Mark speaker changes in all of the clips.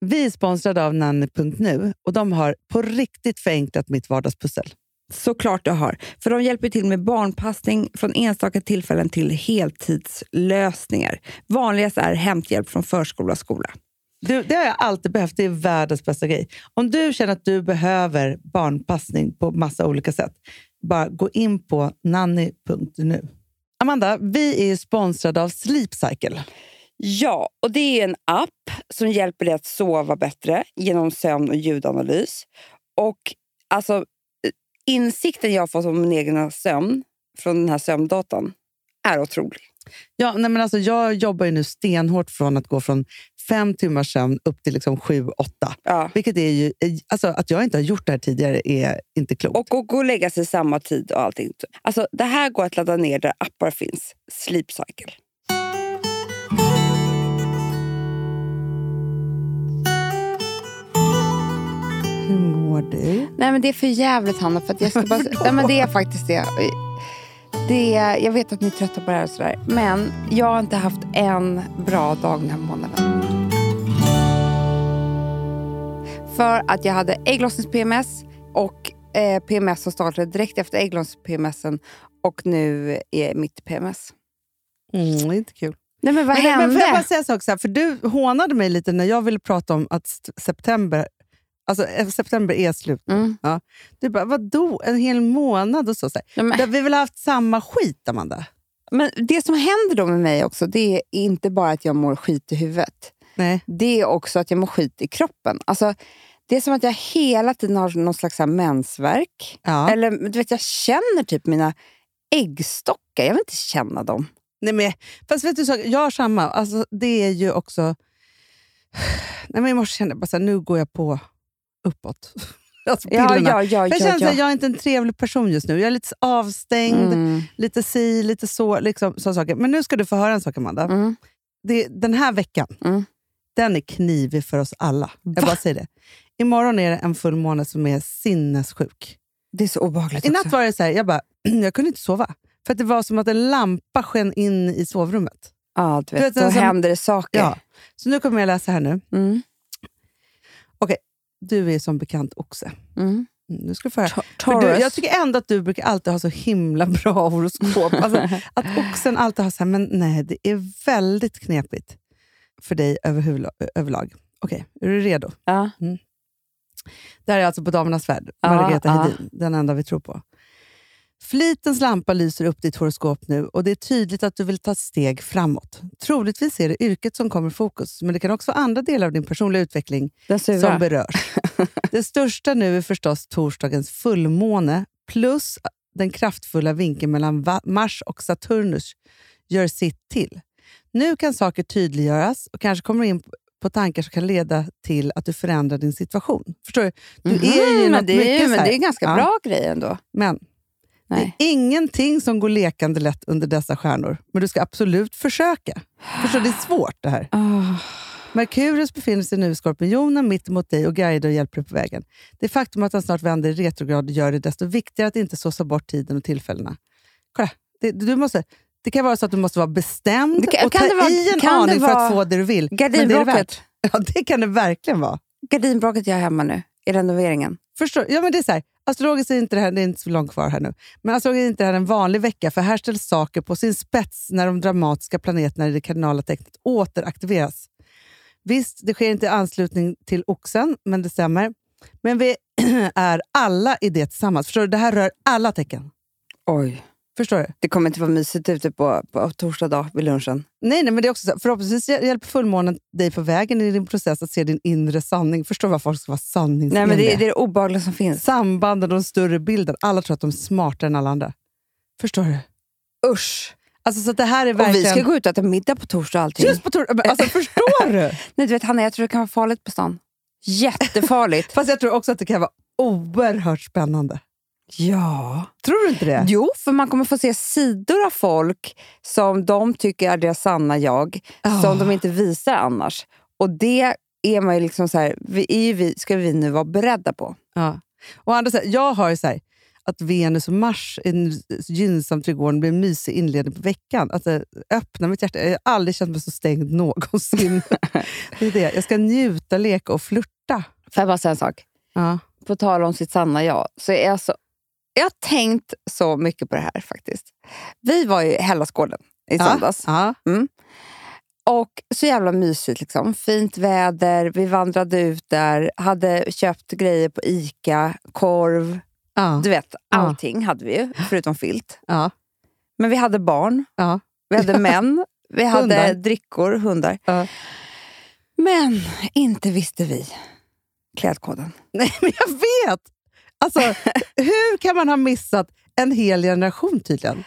Speaker 1: Vi är sponsrade av nanny.nu och de har på riktigt förenklat mitt vardagspussel.
Speaker 2: Såklart du har. För de hjälper till med barnpassning från enstaka tillfällen till heltidslösningar. Vanligast är hämthjälp från förskola och skola.
Speaker 1: Du, det har jag alltid behövt. Det är världens bästa grej. Om du känner att du behöver barnpassning på massa olika sätt, bara gå in på nanny.nu. Amanda, vi är ju sponsrade av Sleep Cycle.
Speaker 2: Ja, och det är en app som hjälper dig att sova bättre genom sömn och ljudanalys. Och alltså, insikten jag fått om min egen sömn från den här sömndatan är otrolig.
Speaker 1: Ja, nej men alltså, jag jobbar ju nu stenhårt från att gå från fem timmars sömn upp till liksom sju, åtta.
Speaker 2: Ja.
Speaker 1: Vilket är ju, alltså, att jag inte har gjort det här tidigare är inte klokt.
Speaker 2: Och att gå och lägga sig samma tid och allting. Alltså, det här går att ladda ner där appar finns. Sleep Cycle.
Speaker 1: Hur mår du?
Speaker 2: Nej men det är för jävligt Hanna. För att jag ska bara... Nej, men det är faktiskt det. det. Jag vet att ni är trötta på det här och sådär. Men jag har inte haft en bra dag den här månaden. För att jag hade ägglossnings-PMS och eh, PMS som startade direkt efter ägglossnings-PMSen. Och nu är mitt PMS.
Speaker 1: Mm, det är inte kul.
Speaker 2: Nej men vad
Speaker 1: Men,
Speaker 2: hände?
Speaker 1: men får jag bara säga en sak? Så här, för du hånade mig lite när jag ville prata om att s- september Alltså eh, september är slut.
Speaker 2: Mm.
Speaker 1: Ja. Du bara, vadå? En hel månad och så. så här.
Speaker 2: Ja, men-
Speaker 1: Då har Vi har väl haft samma skit, Amanda?
Speaker 2: Mm. Men det som händer då med mig också, det är inte bara att jag mår skit i huvudet.
Speaker 1: Nej.
Speaker 2: Det är också att jag mår skit i kroppen. Alltså, det är som att jag hela tiden har någon slags så här mensvärk.
Speaker 1: Ja.
Speaker 2: Eller du vet, jag känner typ mina äggstockar. Jag vill inte känna dem.
Speaker 1: Nej men, fast vet du, en sak? jag har samma. Alltså, det är ju också... Nej, men I morse kände jag bara så här, nu går jag på uppåt. Alltså
Speaker 2: Ja,
Speaker 1: pillerna.
Speaker 2: ja, ja.
Speaker 1: För jag
Speaker 2: ja,
Speaker 1: känner
Speaker 2: ja.
Speaker 1: att jag är inte en trevlig person just nu. Jag är lite avstängd,
Speaker 2: Mm,
Speaker 1: lite si, lite så. Liksom, så saker. Men nu ska du få höra en sak, Amanda.
Speaker 2: mm.
Speaker 1: det, den här veckan,
Speaker 2: Mm.
Speaker 1: den är knivig för oss alla. Jag
Speaker 2: Va?
Speaker 1: bara säger det. Imorgon är det en fullmåne som är sinnessjuk.
Speaker 2: Det är så obehagligt
Speaker 1: I natt
Speaker 2: också.
Speaker 1: var det så här, jag bara, jag kunde inte sova. För att det var som att en lampa sken in i sovrummet.
Speaker 2: Ja, du vet,
Speaker 1: du vet,
Speaker 2: då
Speaker 1: den som-
Speaker 2: händer det saker.
Speaker 1: Ja. Så nu kommer jag läsa här nu.
Speaker 2: Mm,
Speaker 1: Du är som bekant oxe.
Speaker 2: mm.
Speaker 1: Mm, Nu ska du få höra.
Speaker 2: Ta-
Speaker 1: För du,
Speaker 2: Taurus.
Speaker 1: jag tycker ändå att du brukar alltid ha så himla bra horoskop. Alltså, att oxen alltid har så här, men nej, det är väldigt knepigt för dig överhuvud- överlag. Okej, är du redo?
Speaker 2: ja.
Speaker 1: Det här är alltså på Damernas Värld,
Speaker 2: Ja,
Speaker 1: Margareta
Speaker 2: ja.
Speaker 1: Hedin, den enda vi tror på. Flitens lampa lyser upp ditt horoskop nu och det är tydligt att du vill ta steg framåt. Troligtvis är det yrket som kommer i fokus, men det kan också vara andra delar av din personliga utveckling
Speaker 2: Den
Speaker 1: som
Speaker 2: sura.
Speaker 1: berörs. det största nu är förstås torsdagens fullmåne plus den kraftfulla vinkeln mellan Va- Mars och Saturnus gör sitt till. Nu kan saker tydliggöras och kanske kommer du in på- på tankar som kan leda till att du förändrar din situation. Förstår du? Du är ju
Speaker 2: Mhm,
Speaker 1: i
Speaker 2: men
Speaker 1: något
Speaker 2: det är,
Speaker 1: mycket
Speaker 2: ju-
Speaker 1: så
Speaker 2: men
Speaker 1: här.
Speaker 2: det är ganska
Speaker 1: Ja.
Speaker 2: bra grej ändå.
Speaker 1: Men
Speaker 2: Nej.
Speaker 1: det är ingenting som går lekande lätt under dessa stjärnor, men du ska absolut försöka. Förstår du? Det är svårt det här.
Speaker 2: Ah.
Speaker 1: Merkurius befinner sig nu i Skorpionen mitt emot dig och guider och hjälper dig på vägen. Det faktum att han snart vänder i retrograd gör det desto viktigare att inte såsa bort tiden och tillfällena. Kolla, det, du måste, det kan vara så att du måste vara bestämd
Speaker 2: Det kan-
Speaker 1: och
Speaker 2: kan
Speaker 1: ta
Speaker 2: det vara-
Speaker 1: i en
Speaker 2: kan det
Speaker 1: aning för
Speaker 2: vara
Speaker 1: att få det du vill. Men det är det värt.
Speaker 2: Gardinbråket.
Speaker 1: Ja, det kan det verkligen vara.
Speaker 2: Gardinbråket jag har hemma nu i renoveringen.
Speaker 1: Förstår, ja, men det är så här, astrologiskt är inte det här, det är inte så långt kvar här nu, men astrologiskt är inte det här en vanlig vecka, för här ställs saker på sin spets när de dramatiska planeterna i det kardinala tecknet återaktiveras. Visst, det sker inte i anslutning till oxen, men det stämmer. Men vi är alla i det tillsammans. Förstår du? Det här rör alla tecken.
Speaker 2: Oj.
Speaker 1: Förstår du?
Speaker 2: Det kommer inte vara mysigt ute på, på torsdag dag vid lunchen.
Speaker 1: Nej, nej, men det är också så, här, förhoppningsvis hjäl- hjälper fullmånen dig på vägen i din process att se din inre sanning. Förstår du varför folk ska vara sanningsenliga?
Speaker 2: Nej, men det, är- det är det obehagliga som finns.
Speaker 1: Sambanden och den större bilden. Alla tror att de är smartare än alla andra. Förstår du?
Speaker 2: Usch!
Speaker 1: Alltså så att det här är
Speaker 2: Och
Speaker 1: verkligen...
Speaker 2: vi ska gå ut och äta middag på torsdag och allting.
Speaker 1: Just på tor- men alltså, förstår du?
Speaker 2: Nej, du vet, Hanna, jag tror det kan vara farligt på stan. Jättefarligt.
Speaker 1: Fast jag tror också att det kan vara oerhört spännande.
Speaker 2: ja.
Speaker 1: Tror du inte det?
Speaker 2: Jo, för man kommer få se sidor av folk som de tycker är deras sanna jag,
Speaker 1: Ja.
Speaker 2: som de inte visar annars. Och det är man ju liksom så här, vi, är ju vi, ska vi nu vara beredda på.
Speaker 1: Ja. Och andra, så här, jag har ju så här, att Venus och Mars är en gynnsam trigon blir en mysig inledning på veckan. Att det öppnar mitt hjärta. Jag har aldrig känt mig så stängd någonsin. det är det. Jag ska njuta, leka och flirta.
Speaker 2: Får jag bara säga en sak?
Speaker 1: Ja.
Speaker 2: På tal om sitt sanna jag, så är jag så... Jag har tänkt så mycket på det här faktiskt. Vi var i Hellasgården i
Speaker 1: Ja.
Speaker 2: söndags.
Speaker 1: Ja.
Speaker 2: Och så jävla mysigt. Liksom. Fint väder, vi vandrade ut där, hade köpt grejer på Ica, korv.
Speaker 1: Ja.
Speaker 2: Du vet,
Speaker 1: Ja.
Speaker 2: allting hade vi ju, förutom filt.
Speaker 1: Ja.
Speaker 2: Men vi hade barn,
Speaker 1: Ja.
Speaker 2: vi hade män, vi hade
Speaker 1: Hundar.
Speaker 2: drickor, hundar.
Speaker 1: Ja.
Speaker 2: Men inte visste vi klädkoden.
Speaker 1: Nej, men jag vet! Alltså, hur kan man ha missat en hel generation tydligen?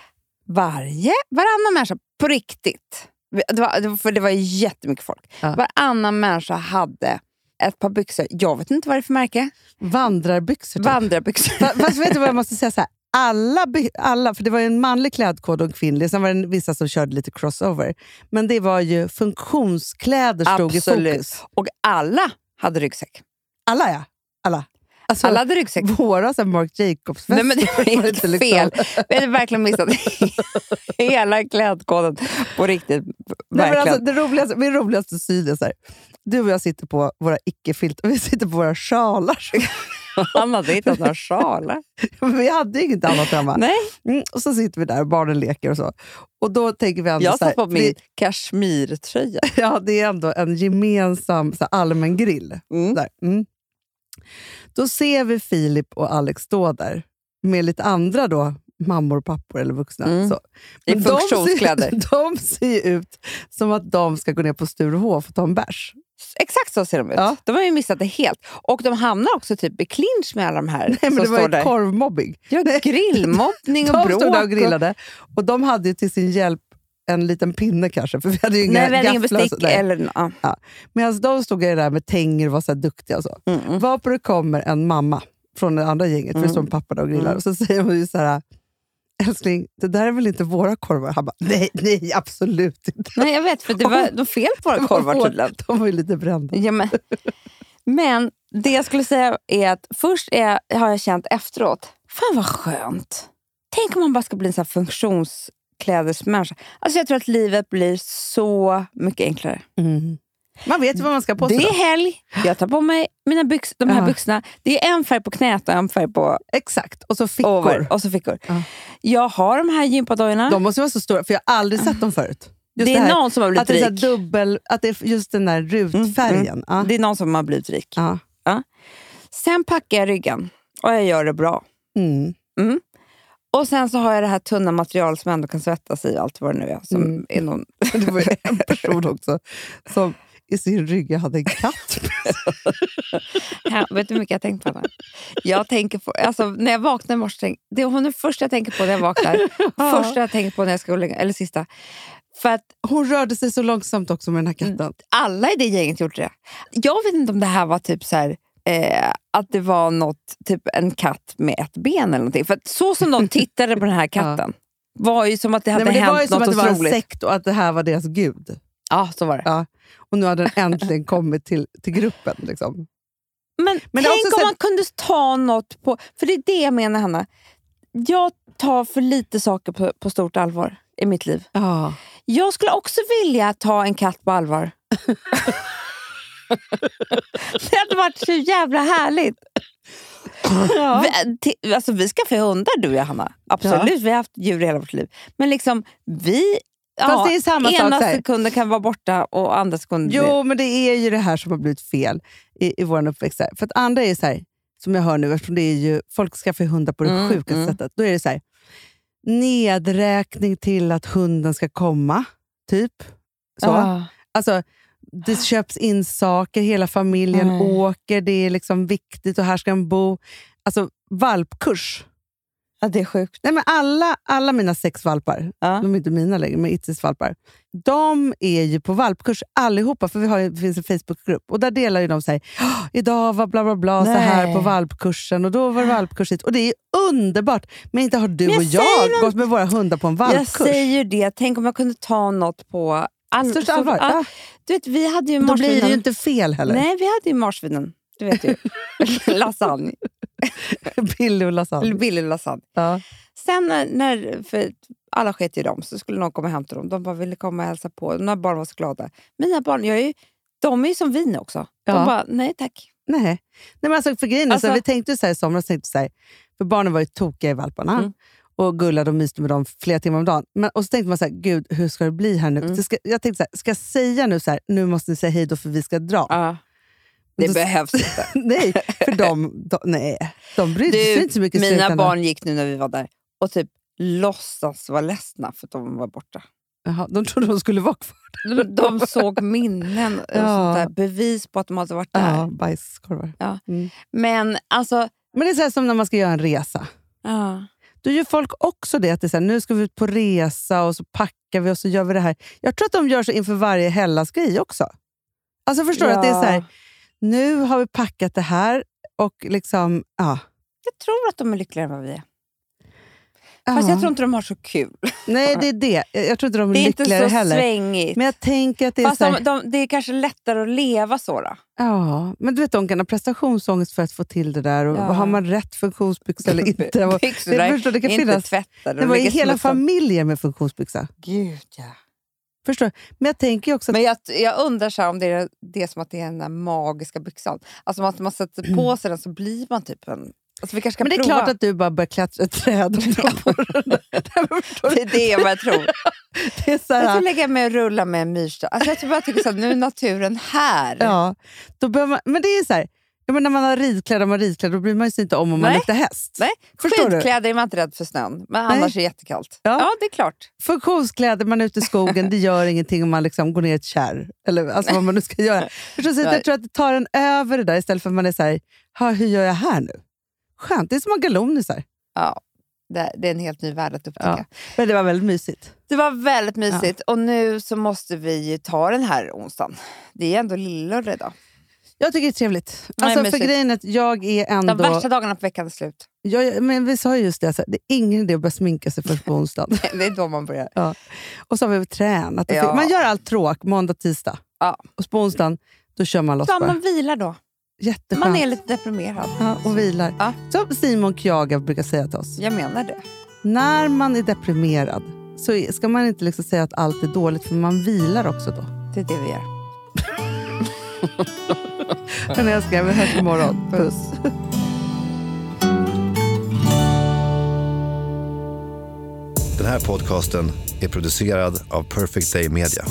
Speaker 2: Varje, varannan människa, på riktigt. Vi- Det var, det var, för det var jättemycket folk.
Speaker 1: Ja.
Speaker 2: Varannan människa hade ett par byxor. Jag vet inte vad det är för märke.
Speaker 1: Vandrarbyxor. typ.
Speaker 2: Vandrarbyxor.
Speaker 1: Fa- Fast vet du vad jag måste säga? Så här, alla, by- alla, för det var ju en manlig klädkod och en kvinnlig, sen var det en- vissa som körde lite crossover. Men det var ju funktionskläder stod i
Speaker 2: Absolut.
Speaker 1: fokus.
Speaker 2: Och alla hade ryggsäck.
Speaker 1: Alla ja, alla. Alltså,
Speaker 2: Alla hade ryggsäck.
Speaker 1: Våra så här, Marc Jacobs-väskor.
Speaker 2: Nej, men det var
Speaker 1: var
Speaker 2: helt
Speaker 1: inte liksom-
Speaker 2: fel. Vi hade verkligen missat hela klädkoden på riktigt.
Speaker 1: Nej, men
Speaker 2: Verkligen.
Speaker 1: alltså, det roligaste, min roligaste syn är så här. Du och jag sitter på våra icke-filt och vi sitter på våra sjalar.
Speaker 2: Han hade hittat några sjalar.
Speaker 1: vi hade ju inget annat hemma.
Speaker 2: Nej,
Speaker 1: Mm, och så sitter vi där och barnen leker och så. Och då tänker vi ändå
Speaker 2: jag
Speaker 1: så här,
Speaker 2: satt på
Speaker 1: det-
Speaker 2: min kashmirtröja.
Speaker 1: Ja, det är ändå en gemensam så här, allmän grill.
Speaker 2: Mm.
Speaker 1: Där. Mm. Då ser vi Filip och Alex stå där med lite andra då, mammor och pappor eller vuxna.
Speaker 2: Mm.
Speaker 1: Så.
Speaker 2: I
Speaker 1: Men de ser-
Speaker 2: funktionskläder.
Speaker 1: De ser ju ut som att de ska gå ner på Sturehof och ta en bärs.
Speaker 2: Exakt så ser de ut.
Speaker 1: Ja.
Speaker 2: De har ju missat det helt. Och de hamnar också typ i clinch med alla de här
Speaker 1: Nej, men
Speaker 2: som
Speaker 1: det var
Speaker 2: står
Speaker 1: ju
Speaker 2: där.
Speaker 1: korvmobbing.
Speaker 2: Ja, grillmobbning och
Speaker 1: De
Speaker 2: bråk.
Speaker 1: stod där och
Speaker 2: och-
Speaker 1: grillade och de hade ju till sin hjälp en liten pinne kanske, för vi hade ju inga
Speaker 2: Nej, vi hade ingen
Speaker 1: gafflar och
Speaker 2: bestick.
Speaker 1: så- nej.
Speaker 2: Eller, ja.
Speaker 1: Medan de stod ju där med tänger och var så här duktiga och så.
Speaker 2: mm, mm.
Speaker 1: Varpå det kommer en mamma från det andra gänget, för det
Speaker 2: Mm.
Speaker 1: står en pappa där och grillar,
Speaker 2: Mm.
Speaker 1: och så säger hon ju så här, älskling, det där är väl inte våra korvar? Han bara, nej, nej, absolut inte.
Speaker 2: Nej, jag vet. För det var, de fel på våra korvar
Speaker 1: De var-
Speaker 2: tydligen.
Speaker 1: De var ju lite brända.
Speaker 2: Ja, men, men det jag skulle säga är att först är, har jag känt efteråt, fan vad skönt. Tänk om man bara ska bli en sån här funktionsklädesmänniska. Alltså jag tror att livet blir så mycket enklare.
Speaker 1: Man vet ju vad man ska på sig.
Speaker 2: Mm. det
Speaker 1: då.
Speaker 2: är helg, jag tar på mig mina byx, de här
Speaker 1: Ja.
Speaker 2: byxorna. Det är en färg på knät och en färg på
Speaker 1: Exakt, och så fickor.
Speaker 2: over. Och så fickor.
Speaker 1: Ja.
Speaker 2: Jag har de här gympadojorna.
Speaker 1: De måste ju vara så stora, för jag har aldrig sett dem förut. Just
Speaker 2: det är
Speaker 1: här,
Speaker 2: någon som har
Speaker 1: att
Speaker 2: blivit
Speaker 1: det är så här
Speaker 2: rik.
Speaker 1: dubbel, att det är just den där rutfärgen. Ah, Ja.
Speaker 2: Det är någon som har blivit rik.
Speaker 1: Ja.
Speaker 2: Sen packar jag ryggen och jag gör det bra.
Speaker 1: Mm.
Speaker 2: Och sen så har jag det här tunna material som ändå kan svettas i allt vad det nu är. Som
Speaker 1: Mm.
Speaker 2: är någon...
Speaker 1: Det var ju en person också som i sin rygg hade en katt.
Speaker 2: Ja, vet du hur mycket jag har tänkt på det? Jag tänker på, alltså, när jag vaknar i morse, tänk- det är hon är det första jag tänker på när jag vaknar.
Speaker 1: Ja.
Speaker 2: Första jag tänker på när jag ska gå och lägga eller sista. För att
Speaker 1: Hon rörde sig så långsamt också med den här katten.
Speaker 2: alla i det gänget gjorde det. Jag vet inte om det här var typ så här, eh, att det var något, typ en katt med ett ben eller någonting. För att så som de tittade på den här katten var ju som att det hade
Speaker 1: Nej, men det
Speaker 2: hänt
Speaker 1: var ju som
Speaker 2: något
Speaker 1: att det var en
Speaker 2: otroligt.
Speaker 1: sekt och att det här var deras gud.
Speaker 2: Ja, så var det.
Speaker 1: Ja. Och nu hade den äntligen kommit till, till gruppen. Liksom.
Speaker 2: Men,
Speaker 1: Men det är
Speaker 2: tänk om
Speaker 1: också så här-
Speaker 2: man kunde ta något på... För det är det jag menar, Hanna. Jag tar för lite saker på, på stort allvar i mitt liv.
Speaker 1: Ja.
Speaker 2: Jag skulle också vilja ta en katt på allvar. det hade varit så jävla härligt.
Speaker 1: Ja.
Speaker 2: Vi, ti- alltså, vi ska få hundar, du och jag, Hanna. Absolut, vi har haft djur i hela vårt liv. Men liksom, vi...
Speaker 1: Fast det är samma sak.
Speaker 2: ena
Speaker 1: så här.
Speaker 2: sekunden kan vara borta och andra sekunden...
Speaker 1: Jo, men det är ju det här som har blivit fel i, i vår uppväxt. här. För att andra är så här, som jag hör nu, eftersom det är ju, folk skaffar ju hundar på det
Speaker 2: Mm,
Speaker 1: sjukaste
Speaker 2: mm.
Speaker 1: sättet. Då är det så här, nedräkning till att hunden ska komma, typ. Så.
Speaker 2: Ja.
Speaker 1: Alltså, det köps in saker, hela familjen
Speaker 2: Nej.
Speaker 1: åker, det är liksom viktigt och här ska den bo. Alltså, valpkurs.
Speaker 2: ja, det är sjukt.
Speaker 1: Nej, men alla, alla mina sex valpar,
Speaker 2: Ja.
Speaker 1: de är inte mina längre, men Itzis valpar, de är ju på valpkurs allihopa, för vi har, ju- det finns en Facebookgrupp. Och där delar ju de så här, "Åh, idag var bla bla bla så
Speaker 2: Nej.
Speaker 1: här på valpkursen och då var det valpkurs hit. Och det är ju underbart, men inte har du
Speaker 2: Men jag
Speaker 1: och
Speaker 2: säger
Speaker 1: jag
Speaker 2: något-
Speaker 1: gått med våra hundar på en
Speaker 2: Jag
Speaker 1: valpkurs.
Speaker 2: säger det. Tänk om jag kunde ta något på... all-
Speaker 1: Största
Speaker 2: så-
Speaker 1: allvar.
Speaker 2: ja,
Speaker 1: Ja,
Speaker 2: Du vet, vi hade ju
Speaker 1: då blir det ju
Speaker 2: marsvinen.
Speaker 1: inte fel heller.
Speaker 2: Nej, vi hade ju marsvinen. Du vet ju. Lasagne.
Speaker 1: Billy och lasagne.
Speaker 2: Billig lasagne.
Speaker 1: Ja.
Speaker 2: Sen när, när för alla sket i dem, så skulle någon komma och hämta dem. De bara ville komma och hälsa på. Mina barn var så glada. Mina barn, jag är ju, de är ju som vin också.
Speaker 1: Ja.
Speaker 2: De bara, nej tack.
Speaker 1: Nej. Nej, men alltså för grejen är så
Speaker 2: Alltså-
Speaker 1: här, vi tänkte så här i somras, tänkte så här, för barnen var ju tokiga i valparna
Speaker 2: Mm.
Speaker 1: och gullade och myste med dem flera timmar om dagen. Men, och så tänkte man så här, gud hur ska det bli här nu?
Speaker 2: Mm.
Speaker 1: Så ska, jag tänkte så här, ska jag säga nu så här, nu måste ni säga hej då för vi ska dra?
Speaker 2: Ja. Det
Speaker 1: Då-
Speaker 2: behövs inte.
Speaker 1: nej, för de, de, nej, de brydde sig
Speaker 2: Du,
Speaker 1: inte så mycket i
Speaker 2: Mina
Speaker 1: slutändan.
Speaker 2: barn gick nu när vi var där och typ låtsas vara ledsna för att de var borta.
Speaker 1: Jaha, de trodde de skulle vara kvar.
Speaker 2: De, de såg minnen och
Speaker 1: Ja.
Speaker 2: sånt där, bevis på att de hade varit där.
Speaker 1: Ja, bajskorvar.
Speaker 2: Men alltså...
Speaker 1: Men det är så här som när man ska göra en resa.
Speaker 2: Ja.
Speaker 1: Då gör folk också det, att det är så här, nu ska vi ut på resa och så packar vi och så gör vi det här. Jag tror att de gör så inför varje hellas grej också. Alltså förstår du? Att det är så här, nu har vi packat det här och liksom, ja.
Speaker 2: Jag tror att de är lyckligare än vad vi är.
Speaker 1: ja.
Speaker 2: Fast jag tror inte de har så kul.
Speaker 1: Nej, det är det. Jag jag tror inte de är,
Speaker 2: Det är inte
Speaker 1: lyckligare
Speaker 2: så
Speaker 1: heller.
Speaker 2: svängigt.
Speaker 1: Men jag tänker att det är
Speaker 2: Fast
Speaker 1: så här,
Speaker 2: de, de, det är kanske lättare att leva så. Då.
Speaker 1: ja. Men du vet, de kan ha prestationsångest för att få till det där. Och
Speaker 2: Ja.
Speaker 1: Har man rätt funktionsbyxa eller inte? Och,
Speaker 2: Byxorna
Speaker 1: det,
Speaker 2: är
Speaker 1: förstår, du, det kan
Speaker 2: inte
Speaker 1: finnas.
Speaker 2: tvättade.
Speaker 1: Det var
Speaker 2: de
Speaker 1: ju
Speaker 2: ligger
Speaker 1: hela
Speaker 2: smutsade.
Speaker 1: familjer med funktionsbyxa.
Speaker 2: Gud, ja.
Speaker 1: Förstår du? Men jag tänker ju också att
Speaker 2: Men jag, jag undrar så här, om det är det är som att det är den där magiska byxan. Alltså att man sätter på sig den så blir man typ en... Alltså vi kanske ska
Speaker 1: Men det är
Speaker 2: prova.
Speaker 1: klart att du bara börjar klättra ett träd och dra på den där. Nej, men förstår
Speaker 2: Det
Speaker 1: du?
Speaker 2: är det jag bara tror.
Speaker 1: Det är så
Speaker 2: Jag ska
Speaker 1: här,
Speaker 2: lägga mig och rulla med en myrstav. Alltså jag tror bara jag tycker så här, nu är naturen här.
Speaker 1: ja, då bör man, men det är ju så här, ja, men när man har ridkläder, man har ridkläder, då bryr man sig inte om om man
Speaker 2: Nej.
Speaker 1: luktar häst.
Speaker 2: Nej,
Speaker 1: Förstår du?
Speaker 2: Skitkläder är man inte rädd för snön, men
Speaker 1: Nej.
Speaker 2: annars är det jättekallt.
Speaker 1: Ja.
Speaker 2: Ja, det är klart.
Speaker 1: Funktionskläder, man är ute i skogen, det gör ingenting om man liksom går ner i ett kärr. Eller alltså vad man nu ska göra. Förstår du? Så att Jag
Speaker 2: Nej.
Speaker 1: tror att det tar en över det där istället för att man är så här, "Ha, hur gör jag här nu? Skönt, det är som att ha galonisar.
Speaker 2: Ja, det, det är en helt ny värld att upptäcka.
Speaker 1: Ja. Men det var väldigt mysigt.
Speaker 2: Det var väldigt mysigt och nu så måste vi ju ta den här onsdagen. Det är ändå lillördag idag.
Speaker 1: Jag tycker det är trevligt.
Speaker 2: Nej,
Speaker 1: Alltså, för
Speaker 2: mysigt.
Speaker 1: grejen är att jag är ändå...
Speaker 2: De värsta dagarna på veckan är slut.
Speaker 1: Ja, ja, men vi sa ju just det, alltså, det är ingen idé att börja sminka sig först på onsdagen.
Speaker 2: Det är då man börjar.
Speaker 1: Och så har vi tränat. och
Speaker 2: Ja.
Speaker 1: Man gör allt tråk måndag, tisdag.
Speaker 2: Ja.
Speaker 1: Och så på onsdagen, då kör man loss
Speaker 2: Ja,
Speaker 1: bara.
Speaker 2: man vilar då.
Speaker 1: Jätteskönt.
Speaker 2: Man är lite deprimerad.
Speaker 1: ja, och vilar.
Speaker 2: Ja.
Speaker 1: Som Simon Kjaga brukar säga till oss.
Speaker 2: Jag menar det.
Speaker 1: När man är deprimerad så är- ska man inte liksom säga att allt är dåligt, för man vilar också då.
Speaker 2: Det är det vi gör.
Speaker 1: Men älskling, vi hörs imorgon. Puss.
Speaker 3: Den här podcasten är producerad av Perfect Day Media.